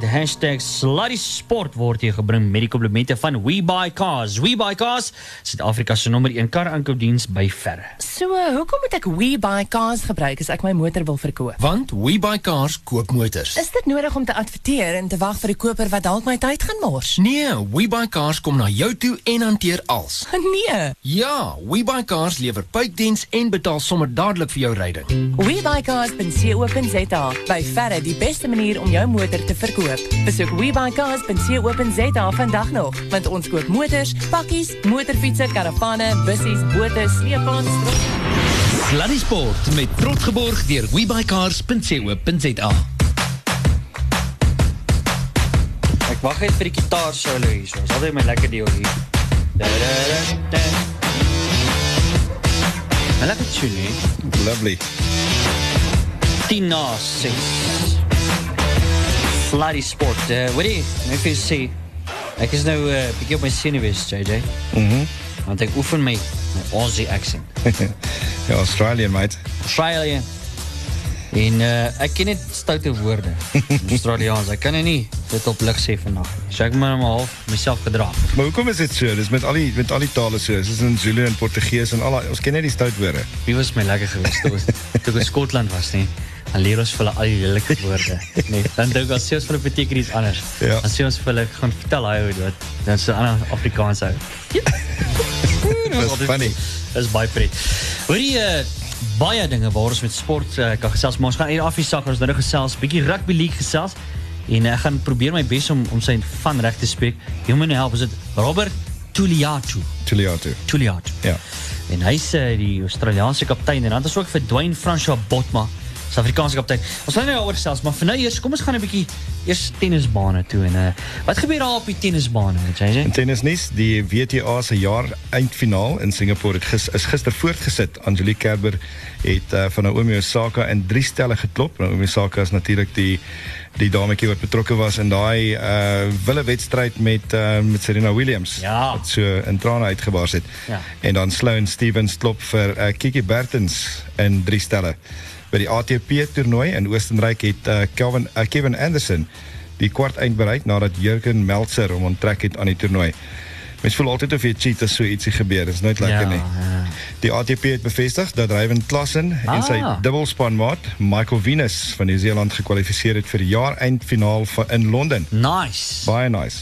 De hashtag Sluddy Sport word hier gebring met die komplemente van WeBuyCars. WeBuyCars, Suid-Afrika se nommer 1 karaankoopdiens by verre. So, hoekom moet ek WeBuyCars gebruik as ek my motor wil verkoop? Want WeBuyCars koop motors. Is dit nodig om te adverteer en te wag vir 'n koper wat dalk my tyd gaan mors? Nee, WeBuyCars kom na jou toe en hanteer als. Nee. Ja, WeBuyCars lewer puitdiens en betaal sommer dadelik vir jou ryding. WeBuyCars.co.za by verre die beste manier om jou motor te verkoop. Besoek WeBuyCars.co.za vandag nog, want ons koop motors, pakkies, motorfietsse, karavaane, bussies, bote, sleepwaens, stro- Sluddy Sport met trots geborg deur webuycars.co.za. Ek wag net vir die gitaar solo hier. Dit is altyd my lekker deel hier. Da, da, da, da. Maar lekker tune, hè? Lovely. 10 na 6. Sluddy Sport. Uh, wat jy, ek wil sê, ek is nou 'n uh, bietjie op my senuwees, JJ. Mhm. Want ek oefen my, my Aussie accent. Ja, Australian, mate. Australië. En eh ek ken net stoute woorde. in Australiaans. Ek kan dit nie dit op lig sê vandag. So ek moet nou maar half myself gedra. Maar hoekom is dit so? Dis met al die met al die tale so. Dis in Zulu en Portugees en al die- ons ken net die stoutwoorde. Wie was my lekker geweest toe ons toe ek in Skotland was nie. Dan leer ons vir hulle al die lelike woorde. Nee, dan dink ons sê ons vir hulle beteken iets anders. Ja. Dan sê ons vir hulle gaan vertel hy hoe dit dan so ander Afrikaans hou. Dis funny. Dis baie pret. Hoorie uh, baie dinge waar ons met sport uh, kan gesels, maar ons gaan eers af die sak ons nou gesels bietjie rugby league gesels en uh, ek gaan probeer my bes om om sy van reg te spreek. Jy moet my help, is dit Robert Tuliatu. Tuliatu. Tuliatu. Ja. En hy's eh, die Australiese kaptein en dan is ook vir Dwayne François Botma, se Afrikaanse kaptein. Ons gaan nou daaroor gesels, maar vir nou eers kom ons gaan 'n bietjie eers tennisbane toe en uh, wat gebeur daar op die tennisbane, jy sê? In tennisnuus, die WTA se jaar eindfinaal in Singapore het gis, is gister voortgesit. Angelique Kerber het eh, van Naomi Osaka in drie stelle geklop. Naomi Osaka is natuurlik die die dametjie wat betrokke was in daai uh wille wedstryd met eh, met Serena Williams Ja. wat so in trane uitgebars het. Ja. En dan Sloane Stevens klop vir eh, Kiki Bertens in drie stelle. By die ATP toernooi in Oostenryk het eh, Kelvin eh, Kevin Anderson die kwart eind bereik nadat Jurgen Meltzer hom onttrek het aan die toernooi. Mens voel altyd of jy cheat as so ietsie gebeur. Dit is nooit lekker nie. ja. eh, Die ATP het bevestig dat Ryan Klassen en sy Ah. dubbelspanmaat Michael Venus van Nieu-Seeland gekwalifiseer het vir die jaareindfinaal van- in Londen. Nice. Baie nice.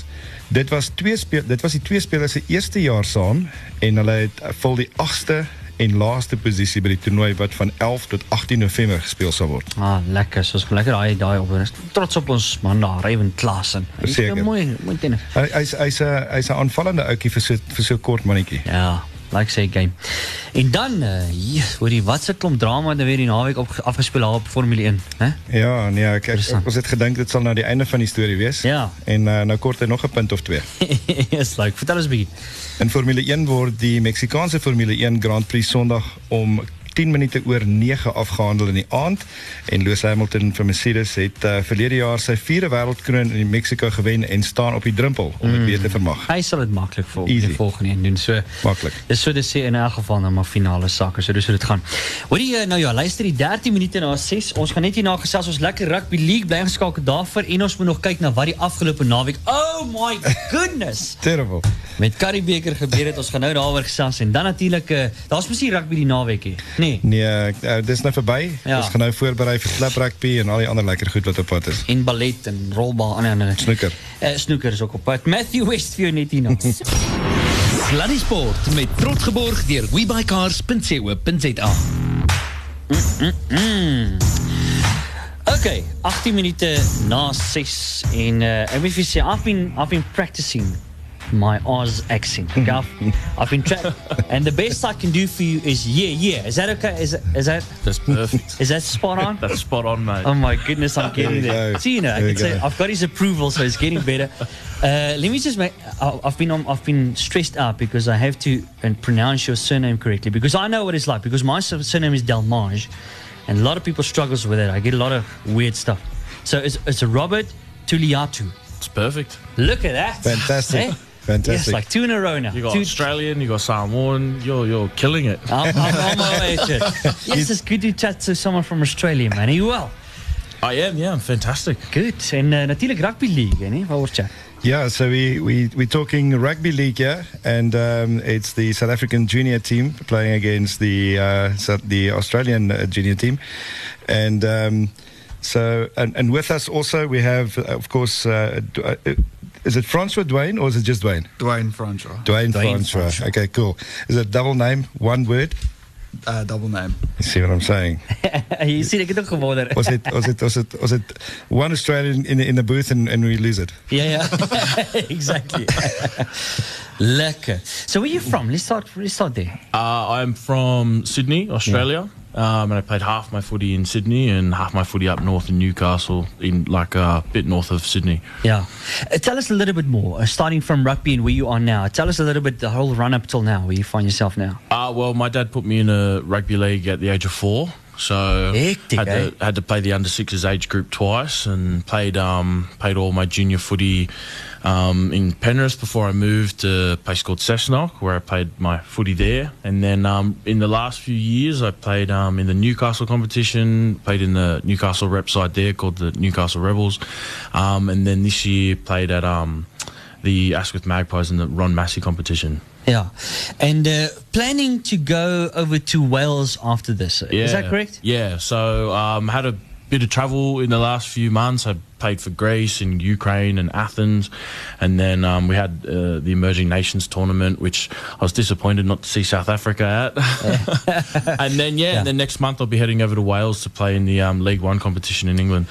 Dit was twee speel dit was die twee spelers se eerste jaar saam en hulle het eh, vul die 8ste en laaste posisie by die toernooi wat van 11 tot 18 November gespeel sal word. Ah, lekker. Soos gaan lekker daai daai op. Ons is Trots op ons man daar, Raven Klassen. Hy Verseker. speel Mooi, mooi tennis. Hy hy's hy's 'n hy's 'n aanvallende ouetjie vir so vir so kort mannetjie. Ja, like say game. En dan uh, hoor jy wat se klomp drama het nou weer die naweek op afgespeel daar op Formule 1, hè? Ja, nee, ek, ek, Interessant. ek ons het gedink dit sal nou die einde van die storie wees. Ja. En uh, nou kort hy nog 'n punt of twee. Yes, like. Vertel ons 'n bietjie. In Formule 1 word die Meksikaanse Formule 1 Grand Prix Sondag om 10 minute oor 9 afgehandel in die aand en Lewis Hamilton van Mercedes het uh, verlede jaar sy vierde wêreldkroon in Mexiko gewen en staan op die drempel om dit weer te vermag. Hy sal dit maklik vir Easy. die volgende een doen. So Maklik. Dis so te sê in elk geval nou maar finale sakke. So dis hoe dit gaan. Hoorie eh, nou ja, luister die 13 minute na 6. Ons gaan net hierna gesels ons lekker rugby league bly geskakel daarvoor en ons moet nog kyk na wat die afgelope naweek. Oh my goodness. Terrible. Met Currie Beeker gebeur het. Ons gaan nou daaroor gesels en dan natuurlik eh, daar's mos nie rugby die naweek hier. Nee. Nee, ek- uh, dis nou verby. Ja. Ja. Ons gaan nou voorberei vir klap rugby en al die ander lekker goed wat op pad is. En ballet en rolbal en en en- Snooker. Eh snoeker is ook op pad. Matthew West vir jou net hierna. Sluddy Sport met trots geborg deur webuycars.co.za. Okay, 18 minute na 6 en uh ek moet vir jou sê I've been I've been practicing my Oz accent. Okay? I've, I've been tra- and the best I can do for you is yeah, yeah. Is that okay? Is is that That's perfect. is that spot on? That's spot on, mate. Oh my goodness, I'm getting There you there. go. See, you know, I There can you say go. I've got his approval, so it's getting better. Uh, let me just make. I- I've been on, I've been stressed out because I have to and pronounce your surname correctly because I know what it's like because my sur- surname is Delmange, and a lot of people struggles with it. I get a lot of weird stuff. So it's it's Robert Tuliatu. It's perfect. Look at that. Fantastic. Eh? Yes, Fantastic. like two in a row now. You got Two- Australian, you got Samoan. You're you're killing it. I'm, I'm on my way to it. Yes, it's good to chat to someone from Australia, man. Are you well? I am, yeah, I'm fantastic. Good. En uh, natuurlijk rugby league, hè? Wat wordt je? Yeah, so we, we, we're talking rugby league, yeah, and um, it's the South African junior team playing against the uh, Sou- the Australian uh, junior team. And um, so, and, and with us also, we have, uh, of course, uh, D- uh, is it Francois Dwayne or is it just Dwayne? Dwayne Franchot. Dwayne, Dwayne Francois. Okay, cool. Is it double name, one word? Uh, double name. You see what I'm saying? Je ziet, ik het ook gewonder. Was it, was it, was it, was it one Australian in, in the booth and, and we lose it? Ja, ja. exactly. Lekker. So where you from? Let's start, let's start there. Uh, I'm from Sydney, Australia, um, and I played half my footy in Sydney and half my footy up north in Newcastle, in like uh, a bit north of Sydney. Yeah. Uh, tell us a little bit more, uh, starting from rugby and where you are now. Tell us a little bit the whole run up till now, where you find yourself now. Uh, well, my dad put me in a rugby league at the age of four, so Hectic, had, eh? to, had to play the under sixes age group twice, and played um, played all my junior footy um, in Penrith before I moved to a place called Cessnock, where I played my footy there, and then um, in the last few years I played um, in the Newcastle competition, played in the Newcastle rep side there called the Newcastle Rebels, um, and then this year played at um, the Asquith Magpies in the Ron Massey competition. Yeah. And uh, planning to go over to Wales after this. uh, Is that correct? Yeah. So um, had a bit of travel in the last few months. I played for Greece and Ukraine and Athens, and then um, we had uh, the Emerging Nations tournament, which I was disappointed not to see South Africa at. and then yeah, and then next month I'll be heading over to Wales to play in the um, League One competition in England.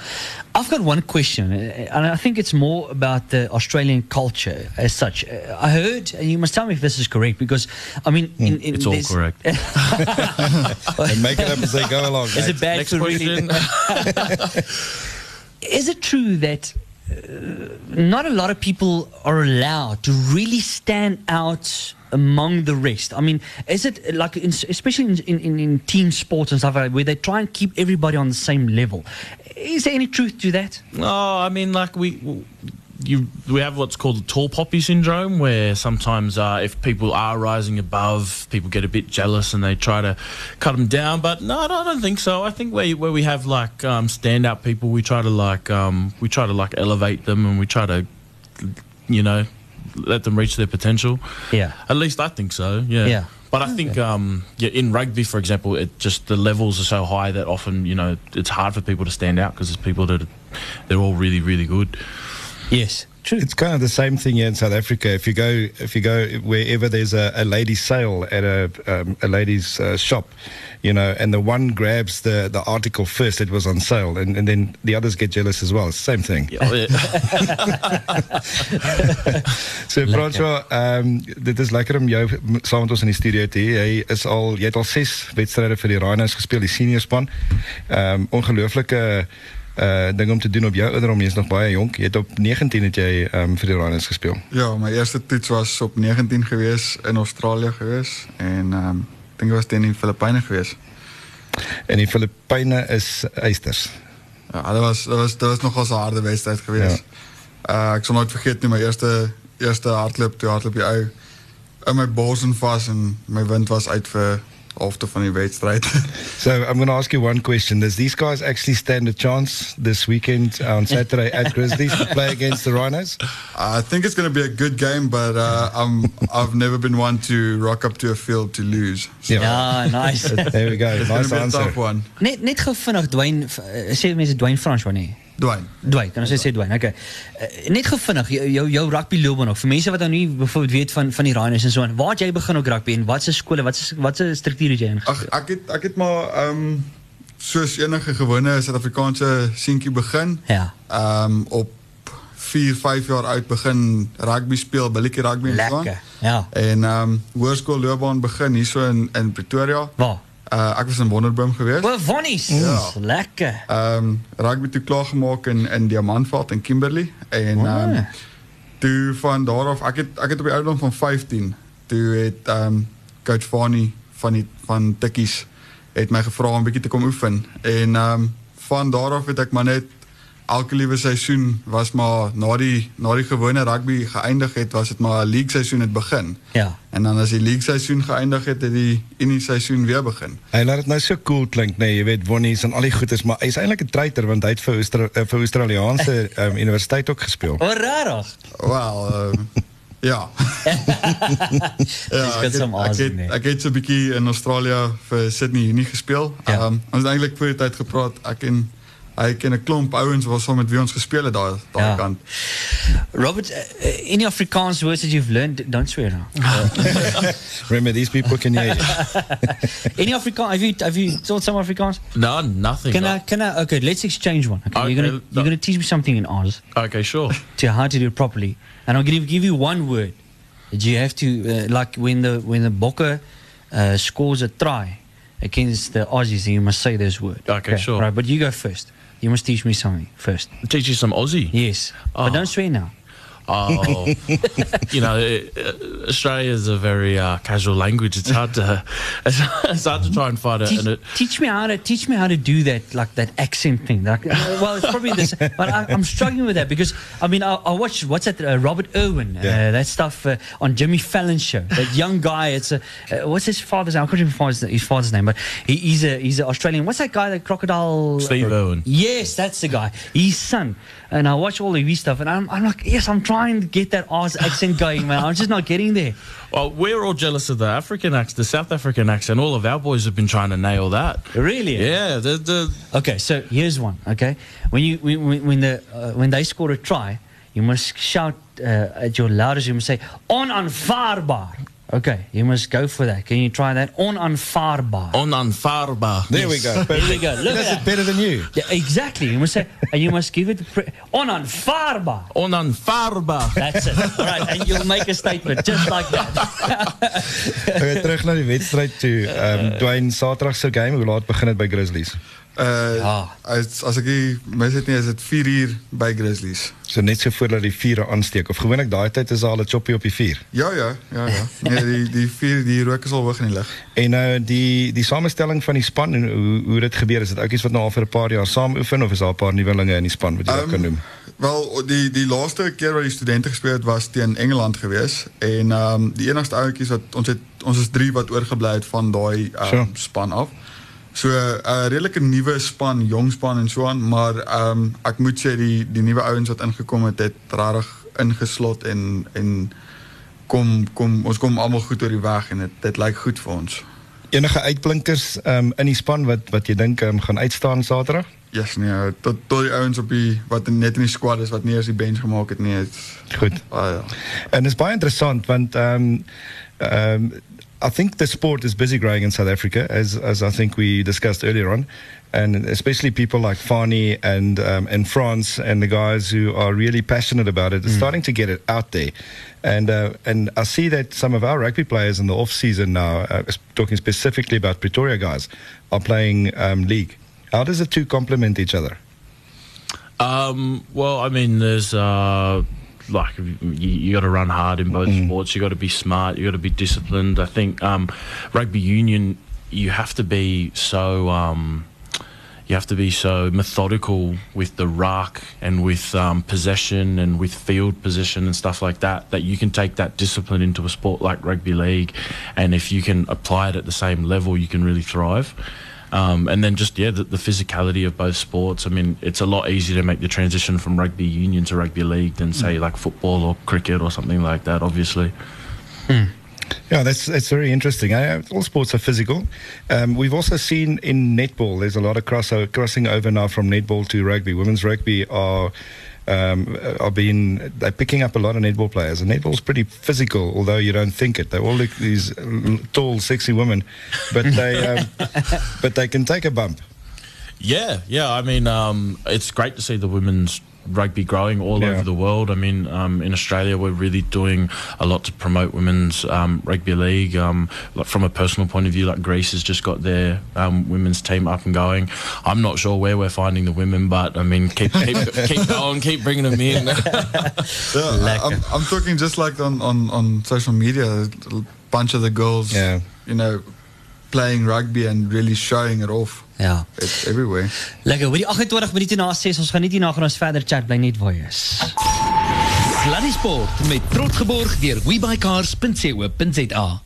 I've got one question, uh, and I think it's more about the Australian culture as such. Uh, I heard, and you must tell me if this is correct, because I mean, in, in It's all there's- correct. And make it up as they go along. Is mate. it bad next to really- question. Is it true that uh, not a lot of people are allowed to really stand out among the rest? I mean, is it like, in, especially in, in, in team sports and stuff like that, where they try and keep everybody on the same level? Is there any truth to that? No, I mean, like we, you, we have what's called the tall poppy syndrome, where sometimes uh, if people are rising above, people get a bit jealous and they try to cut them down. But no, no, I don't think so. I think where where we have like um, standout people, we try to like um, we try to like elevate them and we try to, you know, let them reach their potential. Yeah. At least I think so. Yeah. Yeah. But I think um, yeah, in rugby, for example, it just the levels are so high that often you know it's hard for people to stand out because there's people that are, they're all really really good. Yes. True. It's kind of the same thing here in South Africa. If you go, if you go wherever there's a, a lady's sale at a um, a lady's uh, shop, you know, and the one grabs the, the article first, it was on sale, and, and then the others get jealous as well. It's the Same thing. Yeah, Oh, yeah. So Francois, um, dit is lekker om jou m- saam met ons in die studio te hê. Jy is al jy het al 6 wedstryde vir die Rhinos gespeel, die senior span. Ehm um, ongelooflike uh ding om te doen op jou ouderdom. Jy's nog baie jonk. Jy het op 19 het jy ehm um, vir die Rhinos gespeel. Ja, my eerste toets was op 19 gewees in Australië gewees en ehm um, ek dink dit was teen die Filippyne gewees. En die Filippyne is eisters. Ja, dat was, dat was, dat was nogal zo'n harde wedstrijd geweest. Eh, ik zal nooit vergeten, toen mijn eerste, eerste hardloop, toen hardloop je uit. En mijn bozen vast en mijn wind was uit voor de helft van die wedstrijd. So I'm going to ask you one question. Does these guys actually stand a chance this weekend on Saturday at Grizzlies to play against the Rhinos? I think it's going to be a good game, but uh, I'm, I've never been one to rock up to a field to lose. So Yeah. Ah, nice. There we go. it's going Nice to be a answer. tough one. net net gou vinnig Dwayne eh, sê mense Dwayne Francois nee. Dwayne. Dwayne, kan ons net sê Dwayne. Okay. Eh, Net gou vinnig jou jou, jou rugby loopbaan nog. Vir mense wat nou nie byvoorbeeld weet van van die Rhinos en so aan. Waar het jy begin op rugby en watse skole, watse watse struktuur het jy in? Ag ek het ek het maar ehm soos enige gewone Suid-Afrikaanse seentjie begin. Ja. Ehm op 4, 5 jaar oud begin rugby speel, billetjie rugby en so aan. Lekker. Ja. En ehm hoërskool loopbaan begin hierso in in Pretoria. Waar? Uh ek was in Wonderboom gewees. Waar vonnies. Ja. Lekker. Ehm rugby toe klaar gemaak in in Diamantveld in Kimberley en ehm Ah. toe van daar af ek het ek het op die ouderdom van 15 toe het ehm coach Fani van die van Tikkies het my gevra om 'n bietjie te kom oefen en ehm van daar af het ek maar net elke liewe seisoen was maar na die na die gewone rugby geëindig het, was dit maar 'n league seisoen het begin. Ja. En dan as die league seisoen geëindig het, het die unie seisoen weer begin. Hy laat dit nou so cool klink, nê, nee, jy weet Wonnies en al die goeders, maar hy's eintlik 'n treiter want hy het vir Austra eh, vir Australiese um, universiteit ook gespeel. Oh, rarig. Wel, ehm ja. Dis ek got het- some ek awesome, het- nee. Ek het so 'n bietjie in Australië vir Sydney Unie gespeel. Ja. Ehm ons het eintlik voor die tyd gepraat. Ek en hy ken 'n klomp ouens wat saam met wie ons gespeel het daai daai Ja. kant. Robert, uh, uh, any Afrikaans words that you've learned, don't swear. now. Remember these people can hear. you. any Afrikaans? Have you have you taught some Afrikaans? No, nothing. Can I can I? Okay, let's exchange one. Okay, you're gonna Okay, you're no. gonna teach me something in Oz Okay, sure. to how to do it properly, and I'm gonna give you one word. that You have to uh, like when the when the Bokker uh, scores a try against the Aussies, then you must say this word. Okay, sure. Right, but you go first. You must teach me something first. Teach you some Aussie. Yes, but Oh. don't swear now. Oh, you know, it, uh, Australia is a very uh, casual language. It's hard to it's, it's hard to try and fight it. teach, And it teach me how to teach me how to do that like that accent thing. Like, well, it's probably this, but I, I'm struggling with that because I mean I, I watch what's that uh, Robert Irwin uh, Yeah. that stuff uh, on Jimmy Fallon's show. That young guy, it's a uh, what's his father's name? I can't remember his father's, his father's name, but he, he's a he's an Australian. What's that guy? The crocodile. Steve Irwin. Yes, that's the guy. His son. And I watch all of his stuff, and I'm, I'm like, yes, I'm trying to get that Oz accent going, man. I'm just not getting there. well, we're all jealous of the African accent, the South African accent. All of our boys have been trying to nail that. Really? eh? Yeah, the, the Okay, so here's one. Okay, when you when, when- when the uh, when they score a try, you must shout uh, at your loudest. You must say onaanvaardbaar. Okay, you must go for that. Can you try that? Onaanvaardbaar. onanfarba. There we go. Here we go. Look That's at it that. better than you. Yeah, exactly. You must say, and you must give it pre- onaanvaardbaar. Onanfarba. That's it. All right, and you'll make a statement just like that. Okay, terug na die wedstryd toe. Ehm um, Dwayne Saterdag se game, hoe laat begin dit by Grizzlies? Uh Ja. as as ek nie mis het nie, is dit 4 uur by Grizzlies. So net so voordat die vure aansteek of gewoonlik daai tyd is daar al 'n choppie op die vuur. Ja ja, ja ja. Nee, die die vier die rook is al weg in die lug. En nou die die samestelling van die span en hoe hoe dit gebeur is dit ouppies wat nou al vir 'n paar jaar saam oefen of is daar 'n paar nuwelinge in die span wat jy um, Ehm, kan noem? Wel, die die laaste keer wat die studente gespeel het was teen Engeland gewees en ehm die enigste ouetjies wat ons het ons is 3 wat oorgebly het van daai ehm Sure. span af. So 'n redelike nuwe span, jong span en so aan, maar ehm ek moet sê die die nuwe ouens wat ingekom het het regtig ingeslot en en kom kom ons kom almal goed oor die weg en dit dit lyk goed vir ons. Enige uitblinkers um, in die span wat wat jy dink um, gaan uitstaan Saterdag? Yes, nee, tot tot die ouens op die wat net in die squad is wat nie eens die bench gemaak het nie. Het, Goed. ah, ja. En dit is baie interessant want um um I think the sport is busy growing in South Africa as as I think we discussed earlier on and especially people like Fani and um in France and the guys who are really passionate about it are starting to get it out there. And uh, and I see that some of our rugby players in the off season now uh, s- talking specifically about Pretoria guys are playing um league. How does the two complement each other? Um, well, I mean, there's uh, like you, you got to run hard in both sports. You got to be smart. You got to be disciplined. I think um, rugby union, you have to be so. Um, you have to be so methodical with the rack and with um, possession and with field position and stuff like that that you can take that discipline into a sport like rugby league and if you can apply it at the same level you can really thrive um, and then just yeah the, the physicality of both sports i mean it's a lot easier to make the transition from rugby union to rugby league than say like football or cricket or something like that obviously Yeah, that's that's very interesting. I, all sports are physical. Um, we've also seen in netball, there's a lot of crossover, crossing over now from netball to rugby. Women's rugby are um, are being they're picking up a lot of netball players, and netball's pretty physical, although you don't think it. They all look these uh, tall, sexy women, but they um, but they can take a bump. Yeah, yeah. I mean, um, it's great to see the women's rugby growing all Yeah. over the world. I mean, um, in Australia, we're really doing a lot to promote women's um, rugby league. Um, like from a personal point of view, like Greece has just got their um, women's team up and going. I'm not sure where we're finding the women, but I mean, keep keep, keep going, keep bringing them in. Yeah, I- I'm, I'm talking just like on, on, on social media, a bunch of the girls, Yeah. you know, playing rugby and really showing it off. Ja. It's everywhere. Lekker, we die 28 minuten na 6, ons gaan niet hierna gaan ons verder chat, blij net waar je is. Sluddy Sport met trots geborg deur webuycars.co.za.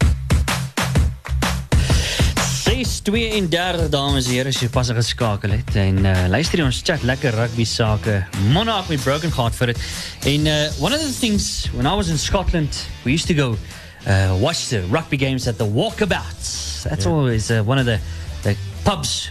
632 dames en heren, as jy pas geskakel het en uh, luister hier, ons chat lekker rugby sake. Monarch we broken heart vir dit. En uh, one of the things when I was in Scotland, we used to go uh, watch the rugby games at the walkabouts. That's always uh, one of the the pubs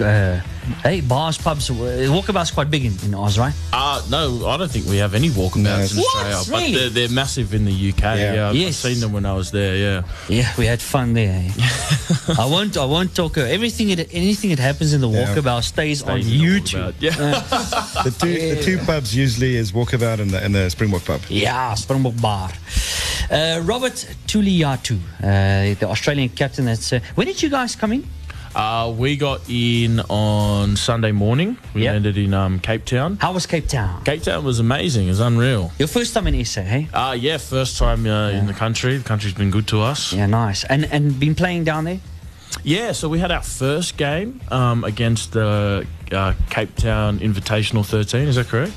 uh, hey, bars, pubs. Eh, Walkabout's quite big in, in Oz, right? Uh, no, I don't think we have any walkabouts No. in What? Australia, but Really? they're, they're massive in the UK. Yeah, I've- I've Yes. seen them when I was there. Yeah, Yeah, we had fun there. eh? I won't. I won't talk. Uh, everything. It, anything that happens in the Yeah. walkabout stays, on Seen them all YouTube. about. Yeah, The two the two pubs usually is Walkabout and the and the Springbok pub. Yeah, Springbok Ja, Bar. Uh, Robert Tuliatu, uh, the Australian captain. That's uh, when did you guys come in? uh, we got in on Sunday morning. We Yeah. landed in um, Cape Town. How was Cape Town? Cape Town was amazing. It was unreal. Your first time in SA, hey? Uh, yeah, first time uh, in the country. The country's been good to us. Yeah, nice. And and been playing down there. Yeah, so we had our first game um, against the uh, Cape Town Invitational 13. Is that correct?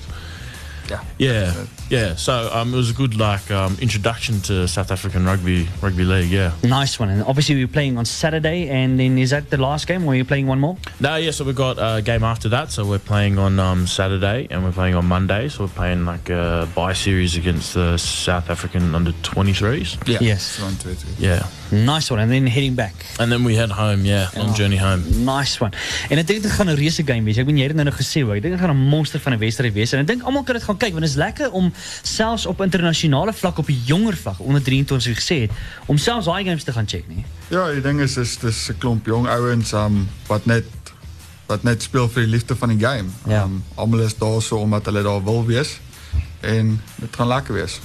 Yeah. Yeah, yeah. So um, it was a good like um, introduction to South African rugby rugby league. Yeah. Nice one. And obviously we are playing on Saturday. And then is that the last game, or are you playing one more? No, yeah. So we got a game after that. So we're playing on um, Saturday and we're playing on Monday. So we're playing like a bye series against the South African under 23s. Yeah. Yes. It's one, two, three. Yeah, Nice one. And then heading back. and then we head home. Yeah, long journey home. Nice one. En ek dink dit gaan 'n reuse game wees. Ek meen jy het dit nou nog gesê, hoor. ek dink dit gaan 'n monster van 'n wedstryd wees en ek dink almal kan dit gaan kyk want dit is lekker om selfs op internasionale vlak op die jonger vlak onder 23 soos gesê het om selfs daai games te gaan check nee. nie. Ja, die ding is is dis 'n klomp jong ouens um, wat net wat net speel vir die liefde van die game. Ja. Um, almal is daar so omdat hulle daar wil wees en dit gaan lekker wees.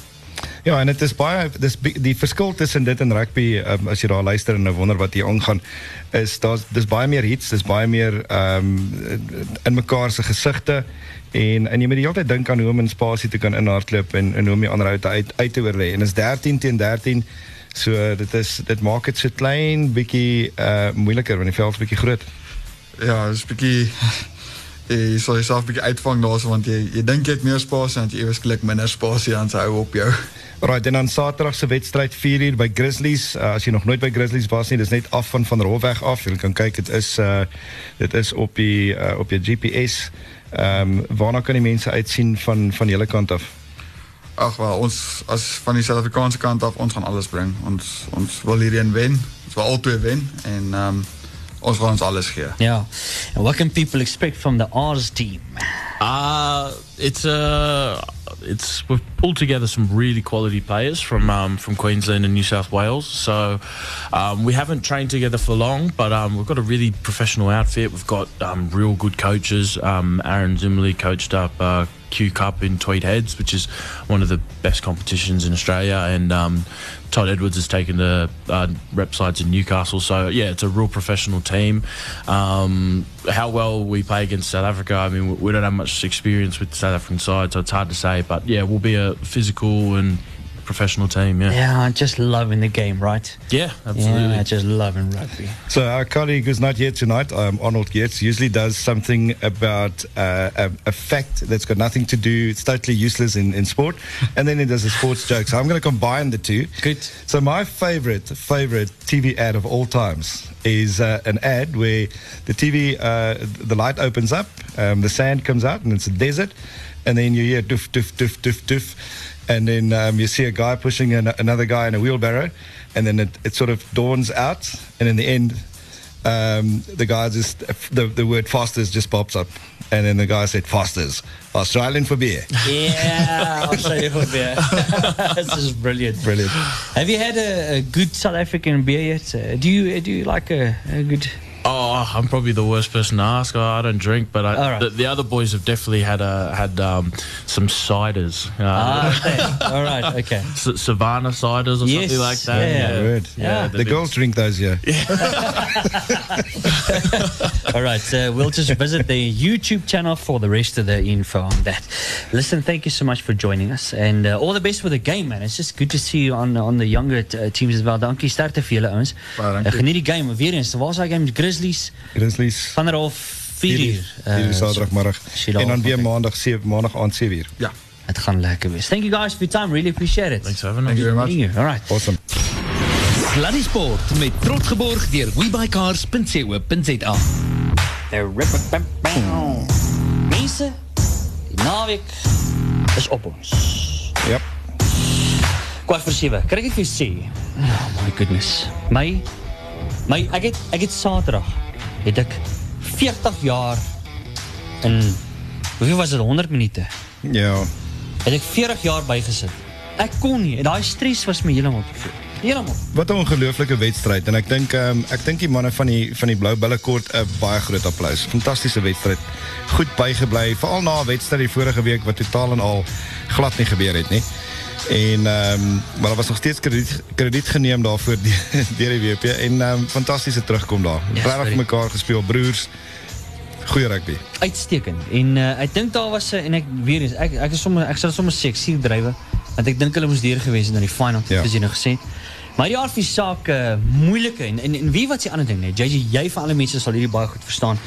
Ja, en dit is baie dis bi- die verskil tussen dit en rugby um, as jy daar luister en nou wonder wat hier aangaan is daar's dis baie meer hits, dis baie meer ehm um, in mekaar se gesigte en en jy moet die hele tyd dink aan hoe om in spasie te kan inhardloop en en hoe om die ander ou te uit uit te oorlê. En is 13 teen 13 So eh, dit is dit maak dit so klein bietjie uh moeiliker want die veld is bietjie groot. Ja, dis 'n bietjie jy sal jouself bietjie uitvang daarso want jy jy dink jy het meer spasie en jy ewe skielik minder spasie dan se ou op jou. Right, en dan Saterdag se wedstryd 4uur by Grizzlies. Uh, as jy nog nooit by Grizzlies was nie, dis net af van van Rolweg af. Jy kan kyk, dit is uh dit is op die uh, op jou GPS. Ehm um, waarna kan die mense uitsien van van julle kant af? Ag wel, ons as van die Suid-Afrikaanse kant af, ons gaan alles bring. Ons ons wil hierheen wen. Ons wil albei wen en ehm um, ons gaan ons alles gee. Ja. And what can people expect from the R's team? Uh, it's uh, it's we've pulled together some really quality players from um, from Queensland and New South Wales. So um, we haven't trained together for long, but um, we've got a really professional outfit. We've got um, real good coaches. Um, Aaron Zimley coached up uh, Q Cup in Tweed Heads, which is one of the best competitions in Australia, and um, Todd Edwards has taken the uh, rep sides in Newcastle. So yeah, it's a real professional team. Um, how well we play against South Africa, I mean, we- we don't have much experience with the South African side, so it's hard to say. But yeah, we'll be a physical and professional team. Yeah, yeah, Yeah, I'm just loving the game, right? absolutely. Yeah, I just loving rugby. So our colleague who's not here tonight, um, Arnold Yates, usually does something about uh, a, a fact that's got nothing to do. It's totally useless in, in sport, and then he does a sports joke. So I'm going to combine the two. Good. So my favorite favorite TV ad of all times is uh, an ad where the TV uh, the light opens up, um, the sand comes out, and it's a desert, and then you hear doof doof doof doof doof, and then um, you see a guy pushing an, another guy in a wheelbarrow, and then it, it sort of dawns out, and in the end. Um, the guy just the, the word fosters just pops up, and then the guy said fosters Australian for beer. Yeah, I'll show you a beer. this is brilliant. Brilliant. Have you had a, a good South African beer yet? Uh, do you do you like a, a good? Oh, I'm probably the worst person to ask. I, I don't drink, but I, All right. the, the other boys have definitely had uh, had um, some ciders, uh, Ah, okay. All right. Okay. S- Savannah ciders or Yes, something like that. yeah. Word. Yeah. The girls drink those here. All right, so we'll just visit the YouTube channel for the rest of the info on that. Listen, thank you so much for joining us, and uh, all the best with the game, man. It's just good to see you on on the younger t- uh, teams as well. Dankie sterkte vir julle ouens. Baie dankie. geniet die game weer eens. Waar is daai game? Grizzlies Grizzlies Grizzlies vanaf 4 4 uur. uur eh, Saterdagmiddag Sheila en dan Hoffman. weer maandag 7 maandag aand 7 uur. Ja. Het gaan lekker wees. Thank you guys for your time. Really appreciate it. Thanks for having us. Thank you very much. Being here. All right. Awesome. Sluddy Sport met trots geborg deur webuycars.co.za. Mensen, die naweek is op ons. Ja. Kwart voor sewe. Kan ek dit vir jou sê? Oh my goodness. My my ek het ek het Saterdag het ek 40 jaar in hoeveel was dit 100 minute? Ja. Het ek 40 jaar bygesit. Ek kon nie en daai stres was my heeltemal verveel. Heeltemal. Wat 'n ongelooflike wedstryd en ek dink ehm ek dink die manne van die van die Blou Bulle kort 'n baie groot applous. Fantastiese wedstryd. Goed bygebly, veral na 'n wedstryd die vorige week wat totaal en al glad nie gebeur het nie. En ehm maar daar was nog steeds krediet krediet geneem daarvoor die- deur die WP en ehm fantastiese terugkom daar. Ja, Regtig sorry. vir mekaar gespeel, broers. Goeie rugby. uitstekend. En eh, ek dink daar was 'n- en ek weer eens ek ek is sommer ek sal sommer sê ek sien drywe want ek dink hulle moes deur gewees het na die final toe Ja. ja. nou gesê. het. Maar die aard van die saak eh, moeilike en, en en wie wat se ander ding net JJ jy vir alle mense sal hierdie baie goed verstaan.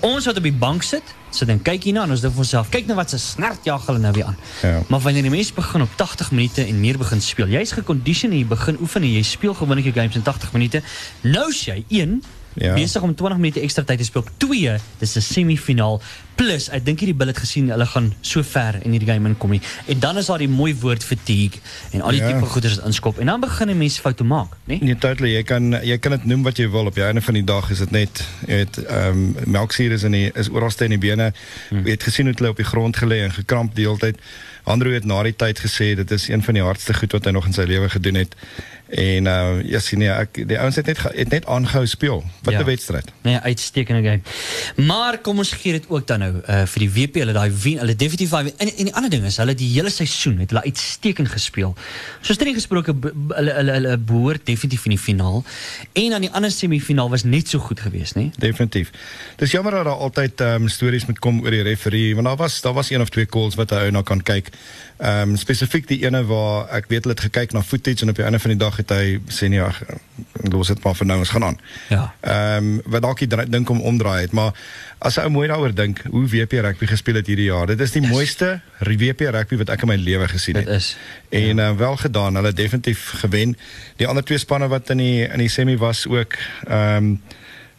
Ons wat op die bank sit, sit en kyk hierna en ons dink vir onsself, kyk nou wat se snert jag hulle nou weer aan. Ja. Maar wanneer die mense begin op 80 minute en meer begin speel, jy's geconditioneer, jy begin oefen en jy speel gewoonlik jou games in 80 minute. Nou is jy 1 Ja. besig om 20 minute ekstra tyd te speel. 2, dis 'n semifinaal. Plus, ek dink hierdie bil het gesien hulle gaan so ver in hierdie game inkom nie. En dan is daar die mooi woord fatigue en al die Ja. tipe goeders wat inskop en dan begin die mense foute maak, né? Nee, totally. Jy kan jy kan dit noem wat jy wil. Op die einde van die dag is dit net jy weet ehm melksuur is in die is oralste in die bene. Hmm. Jy het gesien hoe hulle op die grond gelê en gekramp die hele tyd. Andrew het na die tyd gesê dit is een van die hardste goed wat hy nog in sy lewe gedoen het. En uh ja, sien nee, ek die ouens het net ge- het net aangehou speel. Wat Ja. 'n wedstryd. Nee, uitstekende game. Maar kom ons gee dit ook dan nou eh vir die WP hulle daai wen, hulle definitief daai wen. en en die ander ding is hulle die hele seisoen het hulle uitstekend gespeel. Soos dit gesproke be- be- hulle hulle hulle behoort definitief in die finaal. En dan die ander semifinaal was net so goed geweest, né? Definitief. Dis jammer dat daar altyd ehm stories moet kom oor die referee, want daar was daar was een of twee calls wat 'n ou na kan kyk. Ehm spesifiek die ene waar ek weet hulle het gekyk na footage en op die einde van die dag het hy sê nee, ag, los dit maar vir nou, ons gaan aan. Ja. Ehm wat dalk die dra- dink om omdraai het, maar as jy mooi daaroor dink hoe WP rugby gespeel het hierdie jaar. Dit is die mooiste WP rugby wat ek in my lewe gesien het. Dit is. En eh, wel gedaan, hulle het definitief gewen. Die ander twee spanne wat in die in die semi was ook ehm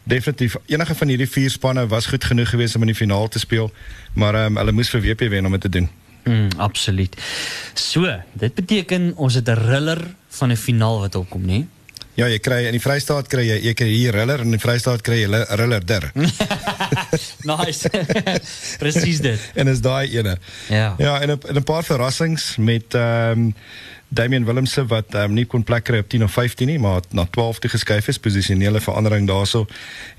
definitief enige van hierdie vier spanne was goed genoeg geweest om in die finaal te speel, maar ehm hulle moes vir WP wen om dit te doen. Mm, absoluut. So, dit beteken ons het 'n riller van 'n finaal wat opkom, né? Ja, jy kry in die Vrystaat kry jy jy kry hier Riller en in die Vrystaat kry jy Li- Riller der. Nice. Presies dit. en is daai ene. Ja. Ja, en 'n en 'n paar verrassings met ehm Damian Willemse wat ehm nie kon plek kry op 10 of 15 nie, maar na 12 toe geskuif is, posisionele verandering daarso.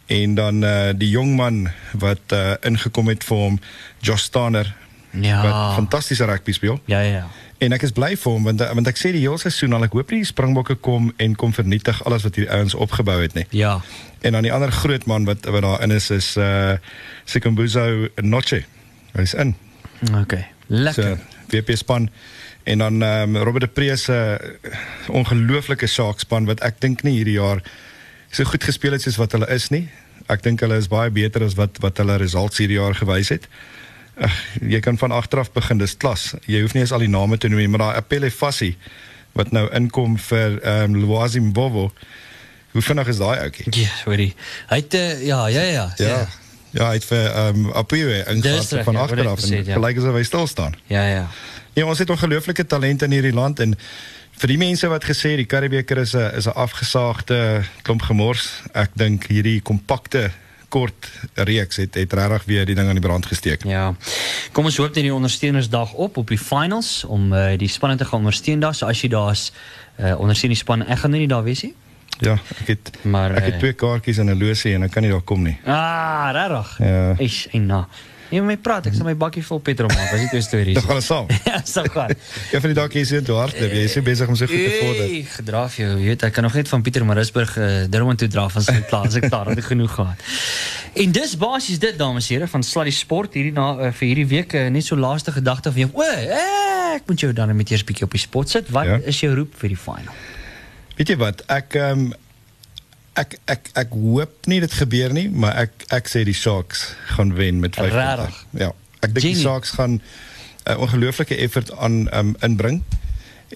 En dan eh die jong man wat eh ingekom het vir hom, Josh Stander Ja. wat fantastiese rugby speel. Ja, ja, ja. En ek is bly vir hom want want ek sê die hele seisoen al ek hoop die Springbokke kom en kom vernietig alles wat hierdie ouens opgebou het nie. Ja. En dan die ander groot man wat wat daarin is is eh Sikombuzo Notche. Hy's in. Okay. Lekker. So, WP span en dan ehm Robert de Pree se ongelooflike saakspan wat ek dink nie hierdie jaar so goed gespeel het soos wat hulle is nie. Ek dink hulle is baie beter as wat wat hulle results hierdie jaar gewys het. Ag, jy kan van agteraf begin, dis klas. Jy hoef nie eens al die name te noem nie, maar daai Appelle Fassie wat nou inkom vir ehm um, Lwazi Mbobo. Hoe vinnig is daai ouetjie? Ja, sorry. Hy het eh, ja, ja, ja. Ja. Ja, hy het vir ehm um, Apuwe Dis ingegaan reg, van ja, wat hy agteraf en gesê het, ja. gelyk asof hy stil staan. Ja, ja. Ja, ons het ongelooflike talent in hierdie land en vir die mense wat gesê die Karibeker is 'n is 'n afgesaagde klomp gemors, ek dink hierdie kompakte kort reeks het het regtig weer die ding aan die brand gesteek. Ja. Kom ons hoop dat die ondersteunersdag op op die finals om eh, die spanne te gaan ondersteun daar. So as jy daar's eh ondersteun die span. Ek gaan nou nie daar wees nie. Ja, ek het Maar, ek eh, het twee kaartjies in 'n losie en ek kan nie daar kom nie. Ah, regtig. Ja. Eish, en na. Jy moet my praat, ek sal my bakkie vol petrol maak. As dit jou storie Dit is. gaan ons saam. Ja, so gaan. Een van die dae is dit hardloop, jy is so besig om so goed te vorder. Hey, gedraaf jou, jy weet, ek kan nog net van Pieter Marisburg uh, Durban toe draaf as ek klaar, as ek klaar het ek genoeg gehad. En dis basies dit dames en here van Sluddy Sport hierdie na uh, vir hierdie week uh, net so laaste gedagte van jou. O, eh, ek moet jou dan net eers bietjie op die spot sit. Wat Ja. is jou roep vir die final? Weet jy wat? Ek ehm Ek ek ek hoop nie dit gebeur nie, maar ek ek sê die Sharks gaan wen met 5. Rarig. Ja. Ek dink die Genie. Sharks gaan 'n ongelooflike effort aan um, inbring.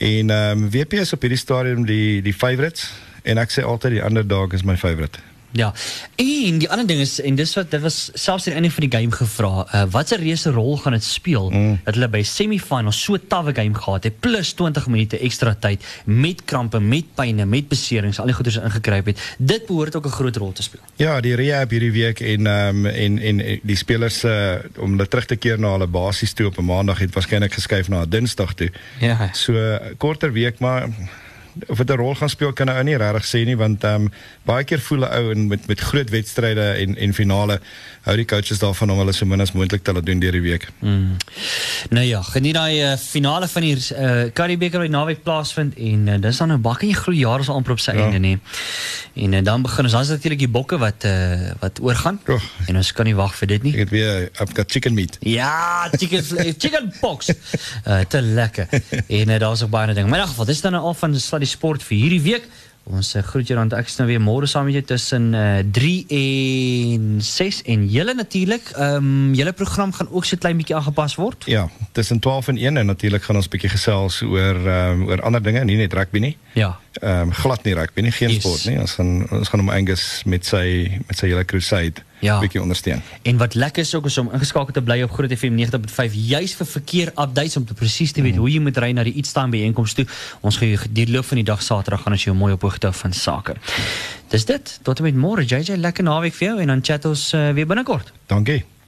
En ehm WP is op hierdie stadium die die favorites en ek sê altyd die underdog is my favorite. Ja. En die ander ding is en dis wat dit was selfs aan die einde van die game gevra, uh, watter reuse rol gaan dit speel dat hulle by semifinals so tawe game gehad het plus 20 minute ekstra tyd met krampe, met pyne, met beserings, al die goeders ingekruip het. Dit behoort ook 'n groot rol te speel. Ja, die rehab hierdie week en ehm en en en die spelers eh, om hulle terug te keer na hulle basies toe op 'n maandag het waarskynlik geskuif na 'n Dinsdag toe. Ja. So eh, korter week maar of dit 'n rol gaan speel kan 'n ou nie regtig sê nie want ehm baie keer voel 'n ou en met met groot wedstryde en en finale hou die coaches daarvan om hulle so min as moontlik te laat doen deur die week. Nou ja, geniet daai eh, finale van hier eh Karibeker wat naweek plaasvind en eh, dis dan nou bak in jou groei jaar is al amper op sy einde nê. En eh, dan begin ons dan is natuurlik die bokke wat eh wat oorgaan. Oh. En ons kan nie wag vir dit nie. Ek het weer I've got chicken meat. Ja, chicken, fl- chicken box. Eh, te lekker. En uh, daar was ook baie ander dinge. Maar in elk geval, dit is dan nou al van Sluddy Sport vir hierdie week. Ons eh, groet jou dan ek is nou weer môre saam met jou tussen eh, 3 en 6 en julle natuurlik, ehm julle program gaan ook so 'n klein bietjie aangepas word. Ja, tussen 12 en 1 en natuurlik gaan ons bietjie gesels oor ehm oor ander dinge, nie net rugby nie. Ja. ehm glad nie rugby nie, geen Yes. sport nie. Ons gaan ons gaan hom Angus met sy met sy hele crusade Ja. bietjie ondersteun. En wat lekker is ook is om ingeskakel te bly op Groot FM 90.5 juis vir verkeer updates om te presies te weet hoe jy moet ry na die Eatstown byeenkoms toe. Ons gaan jou die loop van die dag Saterdag gaan ons jou mooi op hoogte hou van sake. Dis dit. Tot en met môre JJ, lekker naweek vir jou en dan chat ons uh, weer binnekort. Dankie.